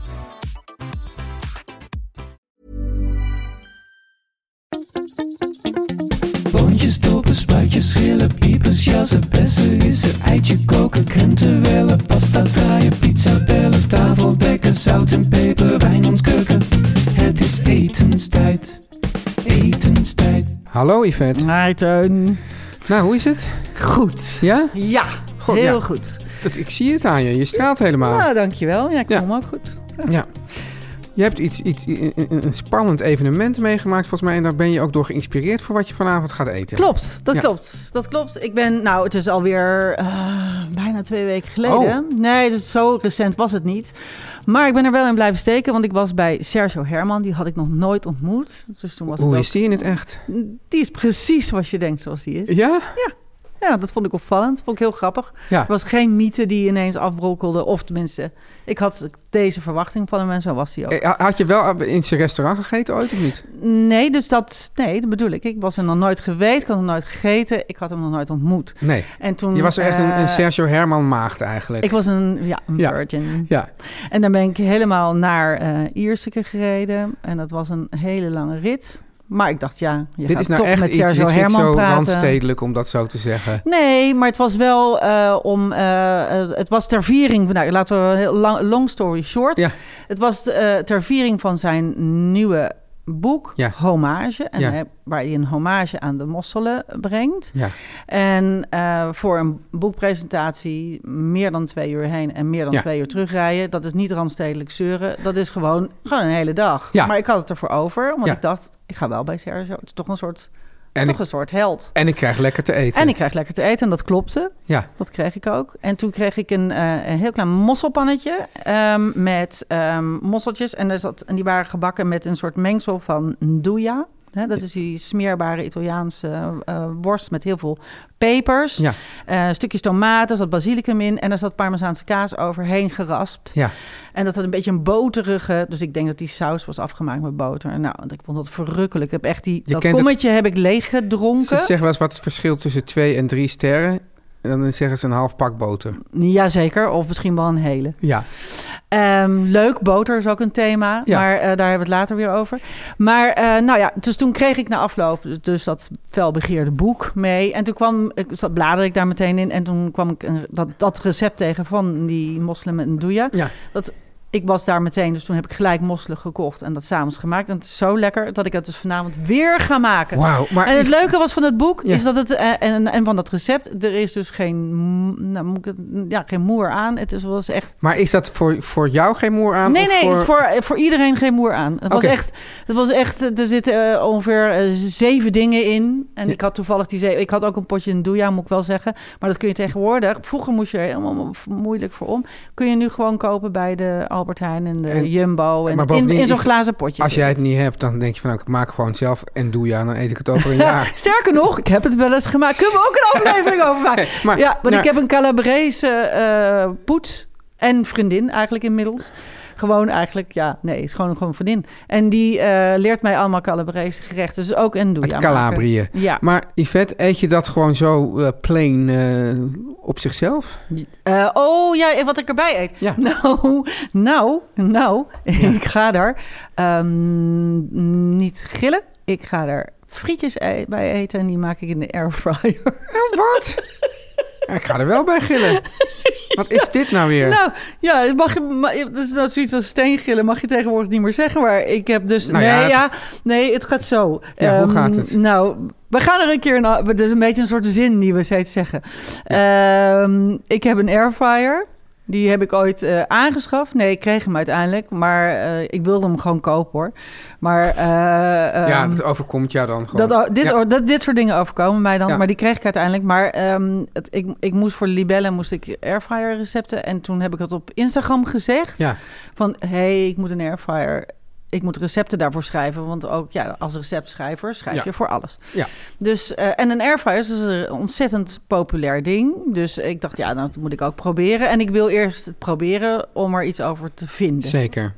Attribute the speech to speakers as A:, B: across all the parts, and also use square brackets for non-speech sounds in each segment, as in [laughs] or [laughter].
A: Boontjes, dopen, spuitjes, schillen, piepers, jassen, bessen, rissen, eitje koken, krenten wellen, pasta draaien, pizza bellen, tafel dekken, zout en peper, wijn ontkurken. Het is etenstijd, etenstijd.
B: Hallo Yvette.
C: Hi Teun.
B: Nou, hoe is het?
C: Goed.
B: Ja?
C: Ja,
B: Goed,
C: heel
B: ja.
C: goed.
B: Dat, ik zie het aan je. Je straalt helemaal.
C: Nou, dankjewel. Ja, ik
B: Ja.
C: voel me ook goed.
B: Ja. Je hebt iets, iets, i- i- een spannend evenement meegemaakt volgens mij. En daar ben je ook door geïnspireerd voor wat je vanavond gaat eten.
C: Klopt, dat
B: Ja.
C: klopt. Dat klopt. Ik ben, nou, het is alweer eh, bijna twee weken geleden.
B: Oh.
C: Nee, dus zo recent was het niet. Maar ik ben er wel in blijven steken, want ik was bij Sergio Herman. Die had ik nog nooit ontmoet. Dus toen was
B: Hoe
C: ik
B: is die in het echt?
C: die? Die is precies zoals je denkt zoals die is.
B: Ja?
C: Ja, dat vond ik opvallend. Vond ik heel grappig.
B: Ja.
C: Er was geen mythe die ineens afbrokkelde. Of tenminste, ik had deze verwachting van hem en zo was hij ook.
B: Eh, ha- Had je wel in zijn restaurant gegeten ooit of niet?
C: Nee, dus dat, nee, dat bedoel ik. Ik was er nog nooit geweest, ik had hem nog nooit gegeten, ik had hem nog nooit ontmoet.
B: Nee.
C: En toen,
B: Je was echt een,
C: eh,
B: een Sergio Herman maagd eigenlijk.
C: Ik was een, ja, een
B: Ja.
C: virgin.
B: Ja.
C: En dan ben ik helemaal naar eh Ierseke gereden. En dat was een hele lange rit. Maar ik dacht, ja, je
B: Dit
C: gaat
B: is nou
C: toch
B: echt
C: met
B: iets, dit
C: Sergio
B: vind ik
C: Herman
B: zo
C: praten.
B: randstedelijk om dat zo te zeggen.
C: Nee, maar het was wel eh, om. eh, eh, het was ter viering. Nou, laten we heel lang, long story short.
B: Ja.
C: Het was eh, ter viering van zijn nieuwe boek,
B: Ja.
C: Hommage. En
B: Ja.
C: hij- waar hij een hommage aan de mosselen brengt.
B: Ja.
C: En eh, voor een boekpresentatie meer dan twee uur heen en meer dan
B: Ja.
C: twee uur terugrijden. Dat is niet randstedelijk zeuren. Dat is gewoon, gewoon een hele dag.
B: Ja.
C: Maar ik had het ervoor over, omdat
B: Ja.
C: ik dacht, ik ga wel bij Sergio. Het is toch een soort,
B: En
C: toch
B: ik,
C: een soort held.
B: en ik krijg lekker te eten.
C: En ik krijg lekker te eten en dat klopte.
B: Ja.
C: Dat kreeg ik ook. En toen kreeg ik een, eh, een heel klein mosselpannetje ehm, met ehm, mosseltjes. En, er zat, en die waren gebakken met een soort mengsel van nduja. Hè, dat is die smeerbare Italiaanse eh, worst met heel veel pepers.
B: Ja.
C: Eh, stukjes tomaten, er zat basilicum in. En er zat parmezaanse kaas overheen geraspt.
B: Ja.
C: En dat had een beetje een boterige... Dus ik denk dat die saus was afgemaakt met boter. En Nou, ik vond dat verrukkelijk. Ik heb echt die,
B: Je
C: dat
B: kent het-
C: kommetje heb ik leeggedronken.
B: Ze zeggen wel eens wat het verschil tussen twee en drie sterren. En dan zeggen ze een half pak boter.
C: Jazeker, of misschien wel een hele.
B: Ja.
C: Ehm, leuk, boter is ook een thema,
B: Ja.
C: maar eh, daar hebben we het later weer over. Maar eh, nou ja, dus toen kreeg ik na afloop dus dat felbegeerde boek mee. En toen kwam, ik zat, bladerde ik daar meteen in en toen kwam ik een, dat, dat recept tegen van die moslim en douille.
B: Ja.
C: Dat, ik was daar meteen, dus toen heb ik gelijk mosselen gekocht en dat s'avonds gemaakt. En het is zo lekker dat ik dat dus vanavond weer ga maken.
B: Wauw. Maar
C: en het leuke was van het boek
B: Ja.
C: is dat het eh, en, en van dat recept er is dus geen, m- nou, moet ik het, ja, geen moer aan. Het is, was echt
B: Maar is dat voor, voor jou geen moer aan?
C: nee
B: of
C: nee
B: voor...
C: het is voor, eh, voor iedereen geen moer aan. Het was
B: Oké.
C: echt het was echt eh, er zitten eh, ongeveer eh, zeven dingen in en
B: Ja.
C: ik had toevallig die zeven, ik had ook een potje een doja moet ik wel zeggen, maar dat kun je tegenwoordig. Vroeger moest je er helemaal mo- moeilijk voor om. Kun je nu gewoon kopen bij de Albert Heijn en de
B: En-
C: Jumbo en
B: maar
C: in,
B: bovendien
C: in zo'n
B: is-
C: glazen potje.
B: Als jij het niet hebt, dan denk je van... nou, ik maak gewoon zelf en doe ja, dan eet ik het
C: [laughs]
B: over een jaar.
C: Sterker nog, ik heb het wel eens gemaakt. Kunnen we ook een aflevering over
B: [laughs]
C: maken?
B: Hey, maar,
C: ja, want
B: nou,
C: ik heb een Calabrese eh, poets en vriendin eigenlijk inmiddels. Gewoon eigenlijk, ja, nee, is gewoon, gewoon een vriendin. En die eh, leert mij allemaal Calabrese gerechten. Dus ook en doe
B: Uit Calabrië.
C: Ja,
B: Maar Yvette, eet je dat gewoon zo eh, plain eh, op zichzelf?
C: Eh, oh ja, en wat ik erbij eet.
B: Ja.
C: Nou, nou, nou, [laughs] ik ga daar ehm, niet gillen. Ik ga daar frietjes e- bij eten en die maak ik in de airfryer.
B: Wat? Ja, ik ga er wel bij gillen. Wat is dit nou weer?
C: Nou, ja, het mag je, ma- dat is nou zoiets als steengillen, mag je tegenwoordig niet meer zeggen. Maar ik heb dus...
B: Nou
C: nee,
B: ja,
C: ja,
B: het-
C: nee, het gaat zo.
B: Ja, hoe
C: Ehm,
B: gaat het?
C: Nou, we gaan er een keer... na- Het is een beetje een soort zin die we steeds zeggen. Ehm, ik heb een airfryer. Die heb ik ooit eh, aangeschaft. Nee, ik kreeg hem uiteindelijk. Maar eh, ik wilde hem gewoon kopen, hoor. Maar... eh,
B: ja,
C: ehm,
B: dat overkomt jou dan gewoon.
C: dat, o- dit,
B: Ja.
C: o- dat, dit soort dingen overkomen mij dan.
B: Ja.
C: Maar die kreeg ik uiteindelijk. Maar ehm, het, ik, ik moest voor Libelle moest ik airfryer recepten. En toen heb ik het op Instagram gezegd.
B: Ja.
C: Van, hé, hey, ik moet een airfryer. Ik moet recepten daarvoor schrijven. Want ook ja, als receptschrijver schrijf
B: Ja.
C: je voor alles.
B: Ja.
C: Dus, eh, en een airfryer is dus een ontzettend populair ding. Dus ik dacht, ja, nou, dat moet ik ook proberen. En ik wil eerst het proberen om er iets over te vinden.
B: Zeker.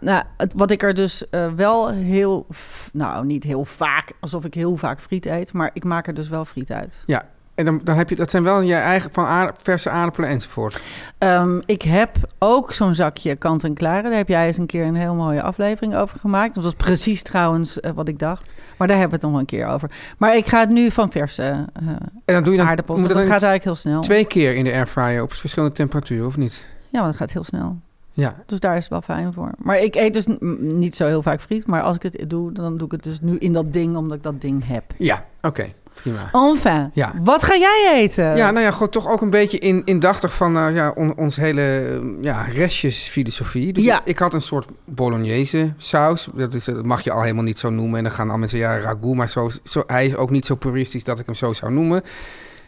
C: Nou, het, wat ik er dus eh, wel heel... f- Nou, niet heel vaak, alsof ik heel vaak friet eet. Maar ik maak er dus wel friet uit.
B: Ja. En dan, dan heb je, dat zijn wel je eigen van aard- verse aardappelen enzovoort.
C: Ehm, ik heb ook zo'n zakje kant-en-klare. Daar heb jij eens een keer een heel mooie aflevering over gemaakt. Dat was precies trouwens eh, wat ik dacht. Maar daar hebben we het nog een keer over. Maar ik ga het nu van verse eh,
B: En dan Nou, doe je dan,
C: aardappels.
B: moet
C: want
B: dat
C: Dat gaat
B: dan
C: eigenlijk heel snel.
B: twee keer in de airfryer op verschillende temperaturen, of niet?
C: Ja, maar dat gaat heel snel.
B: Ja.
C: Dus daar is het wel fijn voor. Maar ik eet dus n- m- niet zo heel vaak friet. Maar als ik het doe, dan doe ik het dus nu in dat ding, omdat ik dat ding heb.
B: Ja, oké. Prima.
C: Oh, Enfin,
B: Ja.
C: wat ga jij eten?
B: Ja, nou ja, gewoon toch ook een beetje in, indachtig van eh, ja, on- ons hele eh, ja, restjesfilosofie. Dus
C: Ja.
B: ik, ik had een soort bolognese saus. Dat, is, dat mag je al helemaal niet zo noemen. En dan gaan al mensen, ja, ragout. Maar zo, zo, hij is ook niet zo puristisch dat ik hem zo zou noemen.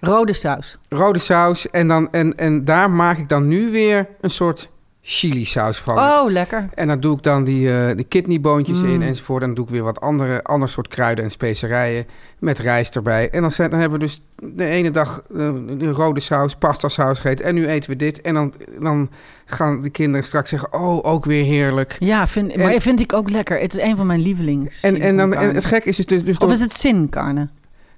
C: Rode saus.
B: Rode saus. En, dan, en, en daar maak ik dan nu weer een soort chili saus van.
C: Oh, lekker.
B: En dan doe ik dan die, eh de kidneyboontjes
C: Mm.
B: in enzovoort. En dan doe ik weer wat andere, ander soort kruiden en specerijen met rijst erbij. En dan, zijn, dan hebben we dus de ene dag eh, de rode saus, pasta saus gegeten. En nu eten we dit. En dan, dan gaan de kinderen straks zeggen, oh, ook weer heerlijk.
C: Ja, vind, maar
B: En-
C: vind ik ook lekker. Het is een van mijn lievelings.
B: En, en, dan, en
C: siliconkarnen.
B: het gek is dus... dus, dus
C: of
B: door-
C: is het zinkarne?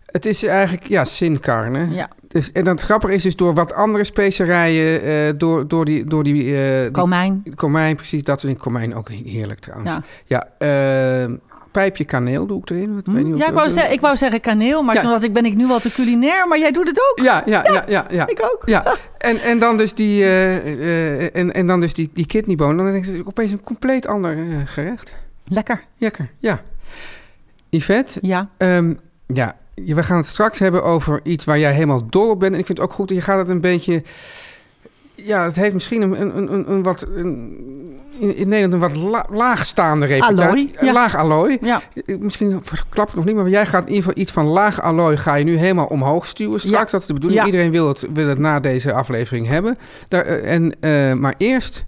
B: Het is eigenlijk, ja, sincarne.
C: Ja.
B: Dus, en dat grappige is dus door wat andere specerijen, eh, door, door die... Door die, eh, die-
C: Komijn.
B: Komijn, precies. Dat soort dingen. Komijn ook heerlijk trouwens.
C: Ja.
B: Ja, eh, pijpje kaneel doe ik erin. Ik weet niet
C: Hm?
B: of-
C: Ja, ik wou,
B: of-
C: zeggen, ik wou zeggen kaneel, maar
B: Ja.
C: toen dacht ik, ben ik nu al te culinair, maar jij doet het ook.
B: Ja, ja, ja, ja. ja.
C: [laughs] Ik ook.
B: Ja, en, en dan dus die, eh, eh, en, en dan dus die, die kidneyboon. Dan denk ik opeens een compleet ander eh, gerecht.
C: Lekker.
B: Lekker, ja. Yvette,
C: Ja.
B: ehm, ja, je- we gaan het straks hebben over iets waar jij helemaal dol op bent. En ik vind het ook goed, je gaat het een beetje... Ja, het heeft misschien een, een, een- een, een wat... een- in, in Nederland een wat la- laagstaande reputatie.
C: Allooi,
B: Eh,
C: ja.
B: Laag allooi.
C: Ja.
B: Ik- Misschien verklap ik nog niet, maar jij gaat in ieder geval iets van laag allooi ga je nu helemaal omhoog stuwen straks.
C: Ja.
B: Dat is de bedoeling.
C: Ja.
B: Iedereen wil het, wil het na deze aflevering hebben. Daar, eh, en, eh, maar eerst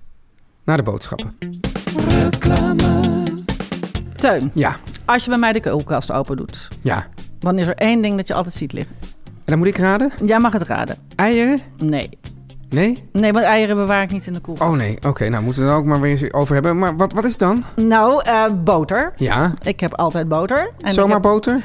B: naar de boodschappen.
C: Teun,
B: Ja,
C: als je bij mij de koelkast open doet,
B: ja.
C: dan is er één ding dat je altijd ziet liggen.
B: En dan moet ik raden?
C: Jij mag het raden.
B: Eieren?
C: Nee.
B: Nee?
C: Nee, want eieren bewaar ik niet in de koelkast.
B: Oh nee, oké. nou, moeten we het er ook maar weer eens over hebben. Maar wat, wat is het dan?
C: Nou, eh, boter.
B: Ja,
C: Ik heb altijd boter. En ik
B: zomaar
C: heb-
B: boter?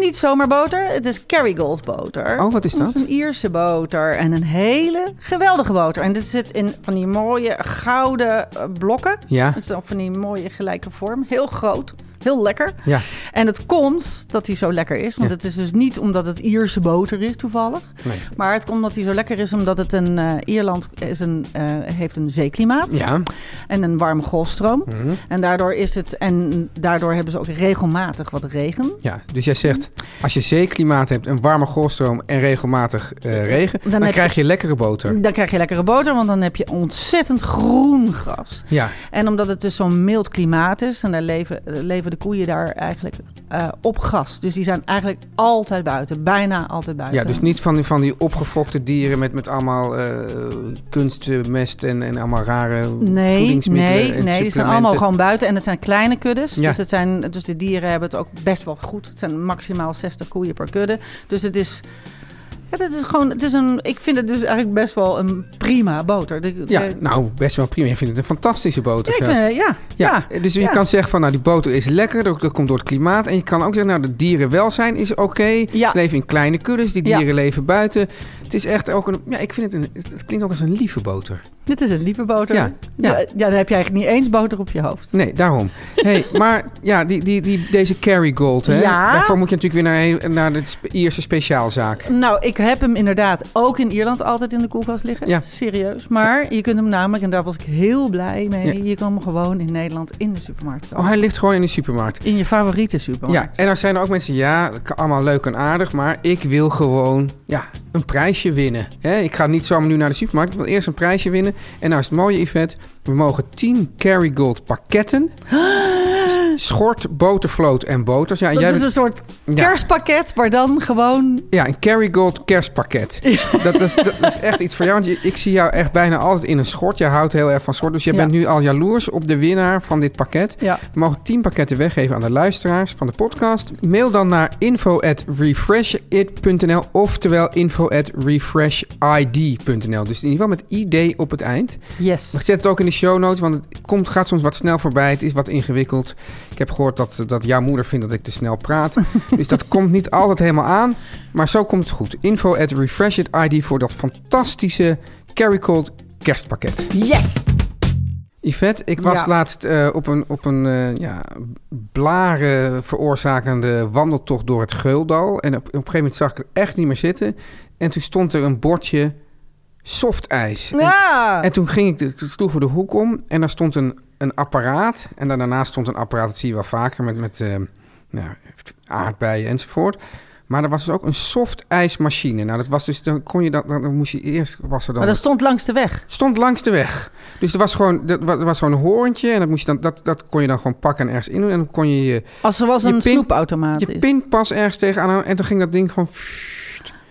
C: Niet zomaar boter, het is Kerrygold boter.
B: Oh, wat is dat?
C: Dat is een Ierse boter en een hele geweldige boter. En dit zit in van die mooie gouden eh, blokken.
B: Ja.
C: Het is dan van die mooie gelijke vorm. Heel groot, heel lekker.
B: Ja.
C: En het komt dat hij zo lekker is. Want
B: Ja.
C: het is dus niet omdat het Ierse boter is toevallig.
B: Nee.
C: Maar het komt dat hij zo lekker is omdat het een, eh, Ierland is een, eh, heeft een zeeklimaat
B: Ja, Mhm.
C: en een warme golfstroom. En, daardoor is het, en daardoor hebben ze ook regelmatig wat regen.
B: ja. Dus jij zegt, als je zeeklimaat hebt, een warme golfstroom en regelmatig eh, regen, dan,
C: heb
B: krijg je... lekkere boter.
C: Dan krijg je lekkere boter, want dan heb je ontzettend groen gras.
B: Ja,
C: En omdat het dus zo'n mild klimaat is, en daar leven, leven de koeien daar eigenlijk eh, op gras. Dus die zijn eigenlijk altijd buiten, bijna altijd buiten.
B: ja dus niet van die, van die opgefokte dieren met, met allemaal eh, kunstmest en, en allemaal rare
C: Nee,
B: voedingsmiddelen
C: nee, nee, die
B: en
C: zijn
B: supplementen.
C: allemaal gewoon buiten. En het zijn kleine kuddes.
B: Ja.
C: Dus, het zijn, dus de dieren hebben het ook best wel goed. Het zijn maximaal 60 koeien per kudde. Dus het is. Het is gewoon, het is een, ik vind het dus eigenlijk best wel een prima boter. De-
B: Ja,
C: de-
B: nou, best wel prima. Je vindt het een fantastische boter.
C: ja, ik
B: zelfs.
C: vind, het- ja,
B: Ja, dus je
C: ja.
B: kan zeggen van nou die boter is lekker, dat, dat komt door het klimaat. En je kan ook zeggen nou de dierenwelzijn is oké.
C: Ja.
B: Ze leven in kleine kuddes, die
C: Ja.
B: dieren leven buiten. Het is echt ook een, ja ik vind het, een, het klinkt ook als een lieve boter.
C: Dit is een lieve boter.
B: Ja, ja.
C: dan heb je eigenlijk niet eens boter op je hoofd.
B: Nee,
C: [laughs]
B: daarom. hey, maar ja, die, die, die, deze Kerrygold hè.
C: Ja.
B: Daarvoor moet je natuurlijk weer naar, een- naar de spe- Ierse speciaalzaak.
C: Nou, ik ik heb hem inderdaad ook in Ierland altijd in de koelkast liggen.
B: Ja.
C: Serieus. Maar je kunt hem namelijk, en daar was ik heel blij mee, je kan hem gewoon in Nederland in de supermarkt kopen.
B: Oh, hij ligt gewoon in de supermarkt.
C: In je favoriete supermarkt.
B: Ja, en dan zijn er ook mensen, ja, dat kan allemaal leuk en aardig, maar ik wil gewoon ja, een prijsje winnen. Hè, ik ga niet zomaar nu naar de supermarkt, ik wil eerst een prijsje winnen. En nou is het mooie, Yvette, we mogen 10 Kerrygold
C: [gasps]
B: pakketten, schort, botervloot en boters. Ja,
C: dat
B: jij
C: is
B: bent-
C: een soort
B: Ja.
C: kerstpakket, maar dan gewoon...
B: ja, een Kerrygold kerstpakket. Dat, dat, is, dat is echt iets voor jou, want je- ik zie jou echt bijna altijd in een schort. Jij houdt heel erg van schort, dus jij
C: Ja.
B: bent nu al jaloers op de winnaar van dit pakket.
C: Ja.
B: We mogen 10 pakketten weggeven aan de luisteraars van de podcast. Mail dan naar info@refreshit.nl oftewel info@refreshid.nl. Dus in ieder geval met ID op het eind.
C: Yes.
B: Maar ik zet het ook in de show notes, want het komt, gaat soms wat snel voorbij. Het is wat ingewikkeld. Ik heb gehoord dat, dat jouw moeder vindt dat ik te snel praat. dus dat komt niet altijd helemaal aan. Maar zo komt het goed. Info at refreshit.id voor dat fantastische Carrycold kerstpakket.
C: Yes!
B: Yvette, ik was
C: Ja.
B: laatst eh, op een, op een eh, ja, blaren veroorzakende wandeltocht door het Geuldal. En op, op een gegeven moment zag ik het echt niet meer zitten. En toen stond er een bordje softijs. En
C: Ja!
B: en toen ging ik, de- toen sloegen we de hoek om en daar stond een, een apparaat. En daar- daarnaast stond een apparaat, dat zie je wel vaker, met, met eh, nou, aardbeien enzovoort. Maar er was dus ook een soft ijsmachine. Nou, dat was dus, dan kon je dat, dan, dan moest je eerst, was er dan...
C: Maar dat stond langs de weg.
B: Stond langs de weg. Dus er was gewoon, er was, er was gewoon een hoorntje en dat, moest je dan, dat, dat kon je dan gewoon pakken en ergens in doen. En dan kon je je,
C: Als er was
B: Je
C: een
B: pin-
C: snoepautomaat
B: je
C: is.
B: pinpas ergens tegenaan hangen en toen ging dat ding gewoon...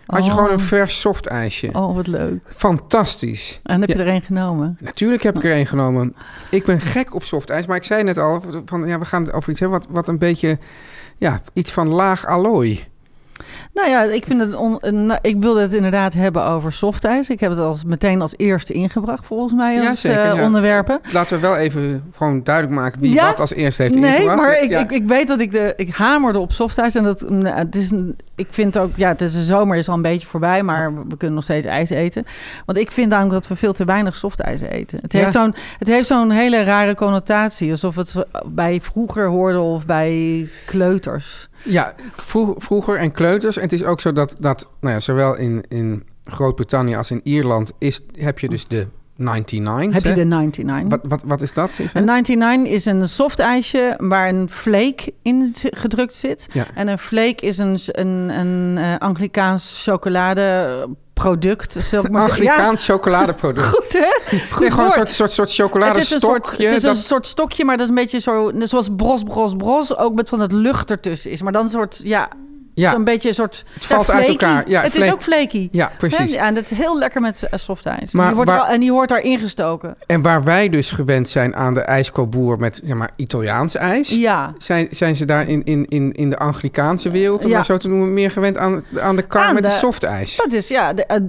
B: Had je
C: Oh.
B: gewoon een vers soft ijsje.
C: Oh, wat leuk.
B: Fantastisch.
C: En heb
B: Ja.
C: je er één genomen?
B: Natuurlijk heb ik er één genomen. Ik ben gek op soft ijs, maar ik zei net al van ja, we gaan het over iets hebben wat, wat een beetje ja, iets van laag allooi.
C: Nou ja, ik, vind het on- een- nou, ik wilde het inderdaad hebben over softijs. Ik heb het als, meteen als eerste ingebracht, volgens mij, als
B: Ja, zeker,
C: eh,
B: ja.
C: onderwerpen.
B: Laten we wel even gewoon duidelijk maken wie
C: Ja?
B: wat als eerst heeft
C: Nee,
B: ingebracht.
C: maar ik,
B: Ja,
C: ik, ik weet dat ik de. Ik hamerde op softijs. En dat. nou, het is, een- ik vind ook. Ja, het is de zomer is al een beetje voorbij. Maar we kunnen nog steeds ijs eten. Want ik vind namelijk dat we veel te weinig softijs eten. Het heeft
B: Ja.
C: zo'n. Het heeft zo'n hele rare connotatie. Alsof we het bij vroeger hoorden of bij kleuters.
B: ja vroeg- vroeger en kleuters. En het is ook zo dat, dat nou ja, zowel in, in Groot-Brittannië als in Ierland is, heb je dus de 99's.
C: Heb je
B: hè?
C: de 99?
B: wat, wat, wat is dat? Yvette?
C: Een 99 is een soft ijsje waar een flake in zi- gedrukt zit.
B: Ja.
C: En een flake is een, een, een eh, Anglicaans chocoladeproduct. Zal ik maar zeggen. Ja,
B: Anglicaans chocoladeproduct.
C: Goed, hè? Goed
B: [laughs] nee, gewoon een
C: woord.
B: soort, soort, soort
C: het is, een soort,
B: chocoladestokje.
C: het is een
B: dat-
C: soort stokje, maar dat is een beetje zo, net zoals bros, bros, bros. Ook met van het lucht ertussen is. Maar dan een soort, ja,
B: ja,
C: zo'n beetje een soort...
B: het valt uit
C: flaky.
B: elkaar. Ja,
C: het is
B: flake.
C: ook flaky.
B: ja, precies.
C: Hè? Ja, en dat is heel lekker met eh, soft ijs.
B: Maar
C: die wordt
B: waar-
C: wel, en die hoort daarin gestoken.
B: En waar wij dus gewend zijn aan de ijskoopboer met zeg maar, Italiaans ijs,
C: Ja.
B: zijn, zijn ze daar in, in, in, in de Anglikaanse wereld, om
C: Ja.
B: maar zo te noemen, meer gewend aan, aan de kar
C: Aan
B: met
C: de-
B: het softijs.
C: Dat is, ja. de- eh,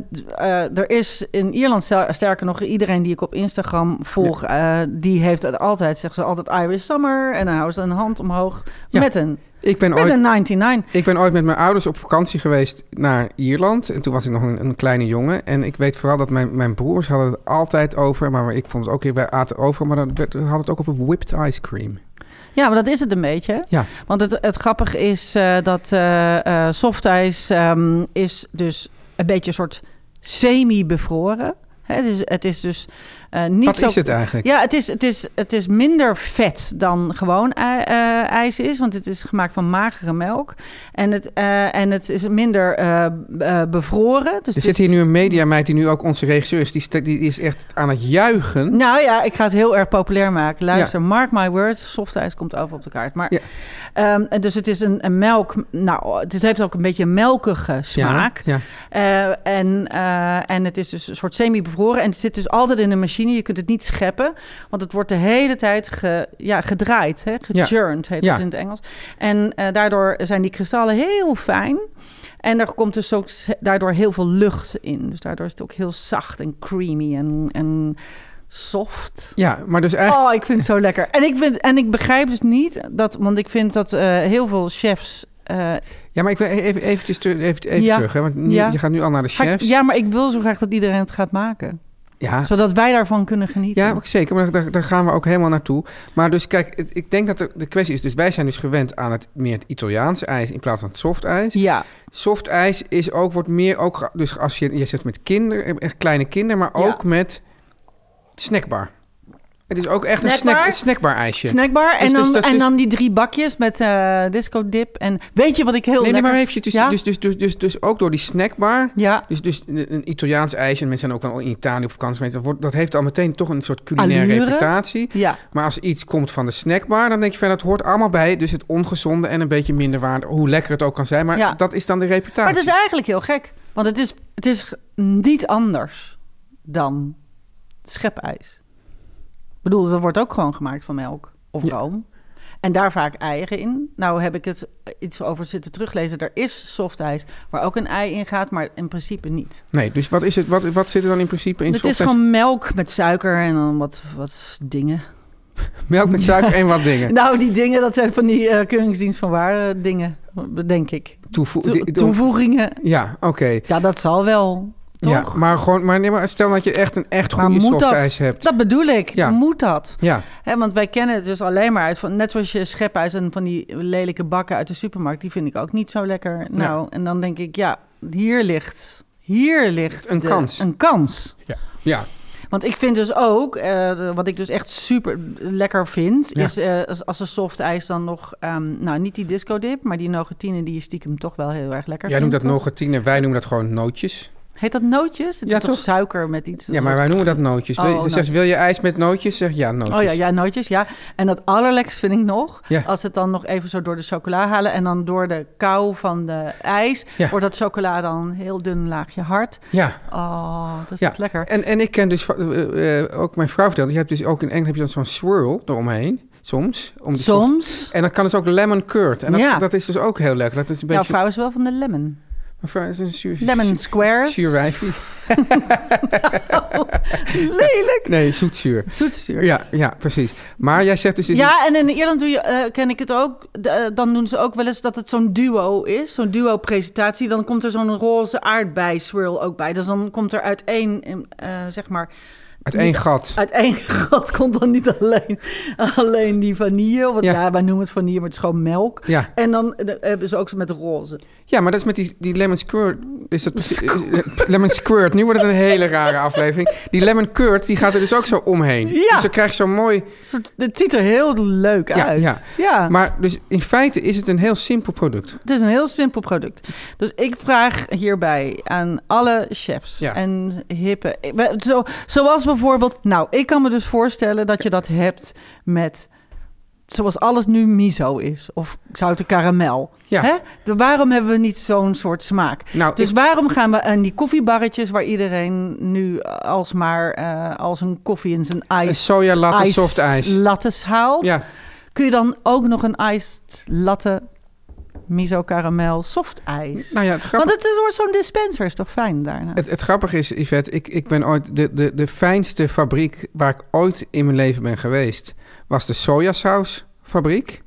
C: eh, er is in Ierland, stel- sterker nog, iedereen die ik op Instagram volg, eh, die heeft het altijd, zeggen ze altijd Irish Summer. En dan houden ze een hand omhoog
B: Ja. Nou,
C: met, een,
B: Ik ben,
C: met
B: ooit,
C: een 99.
B: ik ben ooit met mijn ouders op vakantie geweest naar Ierland. En toen was ik nog een, een kleine jongen. En ik weet vooral dat mijn, mijn broers hadden het altijd over, maar ik vond het ook, wij aten over, maar dan werd- hadden het ook over whipped ice cream.
C: Ja, maar dat is het een beetje. hè?
B: Ja.
C: Want het, het grappige is eh, dat eh eh softijs ehm, is dus een beetje een soort semi-bevroren. Hè, Het is, het is dus eh, niet
B: Wat
C: zo...
B: is het eigenlijk?
C: Ja, het is, het, is, het is minder vet dan gewoon ij- eh, ijs is. Want het is gemaakt van magere melk. En het, eh, en het is minder eh, b- eh, bevroren. Dus het
B: Er
C: is-
B: zit hier nu een mediameid die nu ook onze regisseur is. Die, sta- die is echt aan het juichen.
C: Nou ja, ik ga het heel erg populair maken. Luister, mark my words, softijs komt over op de kaart. Maar,
B: Ja.
C: ehm, en dus het is een, een melk... Nou, het is- heeft ook een beetje een melkige smaak.
B: Ja, ja.
C: Eh, en, eh, en het is dus een soort semi-bevroren. En het zit dus altijd in de machine. Je kunt het niet scheppen. Want het wordt de hele tijd ge, ja, gedraaid. Hè? Gechurned heet
B: Ja.
C: het in het Engels. En eh, daardoor zijn die kristallen heel fijn. En er komt dus ook s- daardoor heel veel lucht in. Dus daardoor is het ook heel zacht en creamy en, en soft.
B: ja maar dus eigenlijk...
C: Oh, ik vind het zo lekker. En ik, vind, en ik begrijp dus niet dat... Want ik vind dat eh, heel veel chefs... eh,
B: Ja, maar ik wil e-, even, eventjes ter- even, even
C: Ja.
B: terug, hè? want nu-
C: Ja.
B: je gaat nu al naar de
C: ga ik-
B: chefs.
C: ja, maar ik wil zo graag dat iedereen het gaat maken.
B: Ja,
C: Zodat wij daarvan kunnen genieten.
B: ja, zeker. Maar daar, daar gaan we ook helemaal naartoe. Maar dus kijk, het- ik denk dat de, de kwestie is... Dus wij zijn dus gewend aan het meer het Italiaanse ijs... in plaats van het soft ijs.
C: ja.
B: Soft ijs is ook, wordt meer ook... ge- Dus als je, je zit met kinderen, echt kleine kinderen... maar
C: Ja.
B: ook met snackbar. Het is ook echt een
C: Snackbar?
B: snack, snackbar ijsje.
C: snackbar.
B: Dus-
C: en, dan,
B: dus- dus-
C: en
B: dus-
C: dan die drie bakjes met eh, disco dip. En weet je wat ik heel
B: nee, nee,
C: lekker...
B: maar even... Dus,
C: Ja?
B: dus, dus, dus, dus, dus ook door die snackbar...
C: ja.
B: Dus, dus een een Italiaans ijsje, en mensen zijn ook wel in Italië op vakantie geweest. Dat, wordt, dat heeft al meteen toch een soort culinaire
C: Allure.
B: reputatie.
C: Ja.
B: Maar als iets komt van de snackbar, dan denk je van dat hoort allemaal bij. Dus het ongezonde en een beetje minder waarde. Hoe lekker het ook kan zijn, maar
C: Ja.
B: dat is dan de reputatie.
C: Maar het is eigenlijk heel gek. Want het is, het is niet anders dan schepijs. Ik bedoel, dat wordt ook gewoon gemaakt van melk of
B: Ja.
C: room. En daar vaak eieren in. Nou heb ik het iets over zitten teruglezen. Er is softijs waar ook een ei in gaat, maar in principe niet.
B: Nee, dus wat, is het, wat, wat zit er dan in principe in?
C: het is
B: softijs?
C: gewoon melk met suiker en dan wat, wat dingen.
B: Melk met suiker en wat
C: [laughs]
B: dingen.
C: Nou, die dingen, dat zijn van die eh keuringsdienst van waarde dingen, denk ik.
B: Toevo-
C: To-
B: di-
C: toevoegingen.
B: Ja, oké.
C: Ja, dat zal wel, toch?
B: Ja, maar, gewoon, maar, nee, maar stel dat je echt een echt
C: Maar
B: goede
C: moet
B: softijs
C: dat?
B: hebt.
C: Dat bedoel ik.
B: Ja.
C: Moet dat?
B: Ja,
C: Hè, want wij kennen het dus alleen maar uit van net zoals je schephuis en van die lelijke bakken uit de supermarkt, die vind ik ook niet zo lekker. Nou, en dan denk ik, ja, hier ligt, hier ligt
B: Een kans.
C: Een kans.
B: ja.
C: Want ik vind dus ook, eh, wat ik dus echt super lekker vind,
B: Ja.
C: is eh, als, als een soft ijs dan nog, ehm, nou niet die disco dip, maar die nogatine die je stiekem toch wel heel erg lekker
B: Jij noemt
C: vindt,
B: dat
C: toch?
B: nogatine, wij noemen dat gewoon nootjes.
C: Heet dat nootjes? Het
B: Ja,
C: is toch,
B: toch?
C: suiker met iets?
B: Ja, maar wij noemen dat nootjes. Wil,
C: Oh,
B: je- dus zegt,
C: nootjes.
B: wil je ijs met nootjes? Zeg ja, nootjes.
C: Oh ja, ja, nootjes, ja. En dat allerlekst vind ik nog,
B: Ja.
C: als het dan nog even zo door de chocola halen en dan door de kou van de ijs,
B: Ja.
C: wordt dat chocola dan een heel dun laagje hard.
B: Ja.
C: Oh, dat is
B: Ja.
C: toch lekker.
B: En, en ik ken dus, eh, eh, ook mijn vrouw vertelde, je hebt dus ook in Engeland heb je dan zo'n swirl eromheen, soms. Om de soft-
C: Soms.
B: En dat kan dus ook lemon curd. En dat,
C: Ja.
B: dat is dus ook heel lekker. Dat is een
C: Jouw
B: beetje...
C: vrouw is wel van de lemon.
B: Mijn vrouw is een zuur...
C: Lemon squares.
B: [laughs] Zuurwijfie.
C: [laughs] Lelijk.
B: Nee, zoetzuur.
C: Zoetzuur. Ja.
B: Ja, ja, precies. Maar jij zegt dus... dus-
C: en in Ierland doe je, eh, ken ik het ook. de- eh, dan doen ze ook wel eens dat het zo'n duo is. Zo'n duo-presentatie. Dan komt er zo'n roze aardbei-swirl ook bij. Dus dan komt er uit één, eh, zeg maar,
B: uit één gat.
C: Uit één [laughs] gat komt dan niet alleen, alleen die vanille. Want
B: Ja.
C: ja. wij noemen het vanille, maar het is gewoon melk.
B: Ja.
C: En dan eh, hebben ze ook zo met roze.
B: ja, maar dat is met die, die lemon squirt. Is dat, eh, lemon squirt. Nu wordt het een hele rare aflevering. Die lemon curd, die gaat er dus ook zo omheen.
C: Ja.
B: Dus dan krijg je zo'n mooi...
C: Een Soort, het ziet er heel leuk
B: Ja,
C: uit.
B: ja. Maar dus in feite is het een heel simpel product.
C: het is een heel simpel product. Dus ik vraag hierbij aan alle chefs
B: Ja.
C: en hippen. ik ben- Zo, zoals bijvoorbeeld, nou, ik kan me dus voorstellen dat je dat hebt met. Zoals alles nu miso is, of zouten karamel.
B: Ja.
C: Hè? De- Waarom hebben we niet zo'n soort smaak?
B: Nou,
C: Dus
B: ik-
C: waarom gaan we aan die koffiebarretjes waar iedereen nu alsmaar eh, als een koffie in zijn ijs.
B: Een soja latte, soft ijs.
C: Lattes haalt.
B: Ja.
C: Kun je dan ook nog een iced latte, miso karamel, soft ijs?
B: Nou ja, het
C: Want
B: grappige...
C: het is- wordt zo'n dispenser, is toch fijn daarna?
B: Het, het grappige is, Yvette, ik, ik ben ooit de, de, de fijnste fabriek waar ik ooit in mijn leven ben geweest, was de sojasausfabriek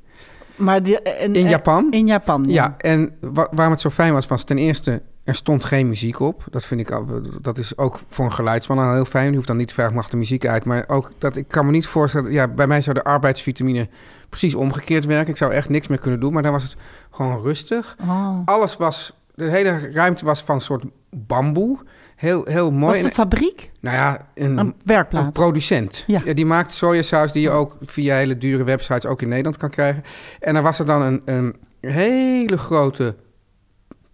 C: maar die, eh, en-
B: in
C: en-
B: Japan.
C: In Japan, ja.
B: Ja, en wa- waarom het zo fijn was, was ten eerste, er stond geen muziek op. Dat vind ik, al- dat is ook voor een geluidsman al heel fijn. Je hoeft dan niet te vragen, mag de muziek uit? Maar ook dat, ik kan me niet voorstellen, ja, bij mij zou de arbeidsvitamine precies omgekeerd werken. Ik zou echt niks meer kunnen doen, maar dan was het gewoon rustig.
C: Oh.
B: Alles was, de hele ruimte was van een soort bamboe. Heel, heel mooi.
C: Was het
B: En-
C: een fabriek?
B: nou ja, een,
C: Een
B: een
C: werkplaats?
B: producent.
C: Ja.
B: die maakt sojasaus die je ook via hele dure websites ook in Nederland kan krijgen. En dan was er dan een, een hele grote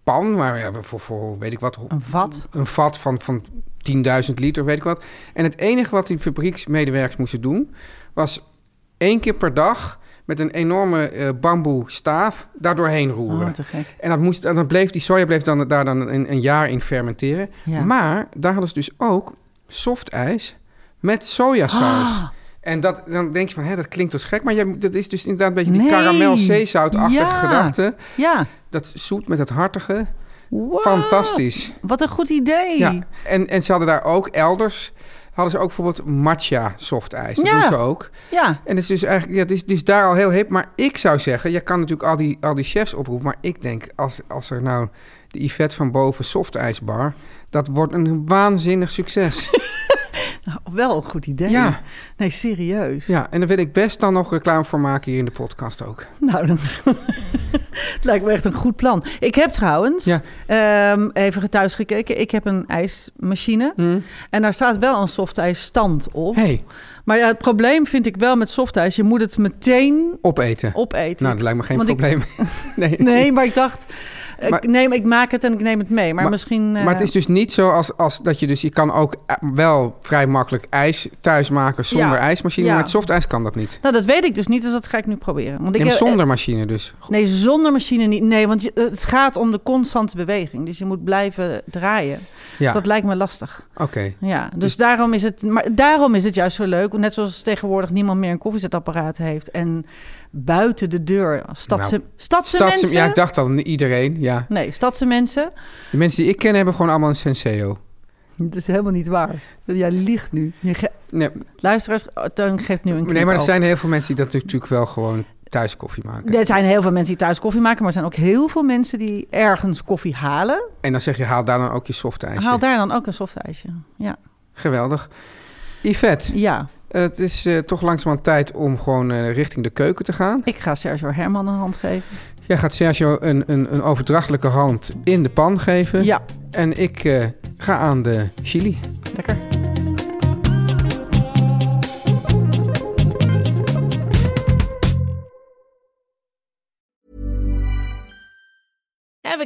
B: pan, waar ja, voor, voor weet ik wat,
C: een vat?
B: een vat van, van 10.000 liter, weet ik wat. En het enige wat die fabrieksmedewerkers moesten doen, was één keer per dag met een enorme eh, bamboe staaf daar doorheen roeren.
C: Oh, te gek.
B: En, dat moest, en dan bleef die soja bleef dan, daar dan een, een jaar in fermenteren.
C: Ja.
B: Maar daar hadden ze dus ook soft ijs met sojasaus.
C: Ah.
B: En dat, dan denk je van, hè, dat klinkt dus gek. Maar je, dat is dus inderdaad een beetje die
C: Nee.
B: karamel zeezoutachtige
C: Ja.
B: gedachte.
C: Ja.
B: Dat zoet met dat hartige.
C: Wow,
B: Fantastisch.
C: Wat een goed idee.
B: Ja. En, en ze hadden daar ook elders... hadden ze ook bijvoorbeeld matcha soft ijs. Dat
C: Ja.
B: doen ze ook.
C: ja.
B: En het is dus eigenlijk, ja, het is, het is daar al heel hip. Maar ik zou zeggen, je kan natuurlijk al die, al die chefs oproepen. Maar ik denk, als, als er nou
C: [laughs]
B: de Yvette van boven soft ijsbar, dat wordt een waanzinnig succes.
C: Nou, wel een goed idee.
B: Ja.
C: Nee, serieus.
B: Ja, en daar wil ik best dan nog reclame voor maken hier in de podcast ook.
C: Nou, dan... [laughs] het lijkt me echt een goed plan. Ik heb trouwens
B: Ja.
C: ehm, even thuis gekeken. Ik heb een ijsmachine. En daar staat wel een softijsstand op.
B: Mm. hey,
C: Maar ja, het probleem vind ik wel met softijs. Je moet het meteen
B: opeten.
C: opeten.
B: Nou, dat lijkt me geen
C: Want ik- [laughs]
B: probleem. [laughs] nee.
C: Nee, nou maar ik dacht, ik,
B: Maar-
C: neem, ik maak het en ik neem het mee. Maar,
B: Maar-
C: misschien... eh,
B: Maar het is dus niet zo als, als dat je dus... Je kan ook eh, wel vrij makkelijk ijs thuis maken zonder
C: Ja.
B: ijsmachine.
C: Ja.
B: Maar met softijs kan dat niet.
C: Nou, dat weet ik dus niet, dus dat ga ik nu proberen. Want ik
B: Neem
C: heb-
B: zonder machine dus.
C: eh, Nee, zonder machine niet. Nee, want je- het gaat om de constante beweging. Dus je moet blijven draaien.
B: Ja,
C: Dat lijkt me lastig.
B: oké.
C: Ja, dus, daarom, is het, maar daarom is het juist zo leuk. Net zoals tegenwoordig niemand meer een koffiezetapparaat heeft. En buiten de deur, stadse,
B: Nou,
C: stadse,
B: Stadsem-
C: mensen...
B: ja, ik dacht al, iedereen. Ja.
C: Nee, stadse mensen.
B: De mensen die ik ken hebben gewoon allemaal een senseo.
C: Dat is helemaal niet waar. Jij liegt nu. Je ge-
B: Nee,
C: Luisteraars, oh, Teun geeft nu een
B: nee, maar er
C: knipoog.
B: zijn heel veel mensen die dat natuurlijk wel gewoon thuis koffie maken.
C: Er zijn heel veel mensen die thuis koffie maken, maar er zijn ook heel veel mensen die ergens koffie halen.
B: En dan zeg je, haal daar dan ook je softijsje.
C: Haal daar dan ook een softijsje. Ja.
B: Geweldig. Yvette,
C: ja,
B: eh, het is eh, toch langzamerhand tijd om gewoon eh, richting de keuken te gaan.
C: ik ga Sergio Herman een hand geven.
B: Jij gaat Sergio een, een, een overdrachtelijke hand in de pan geven.
C: Ja,
B: En ik eh, ga aan de chili.
C: lekker.
D: Ever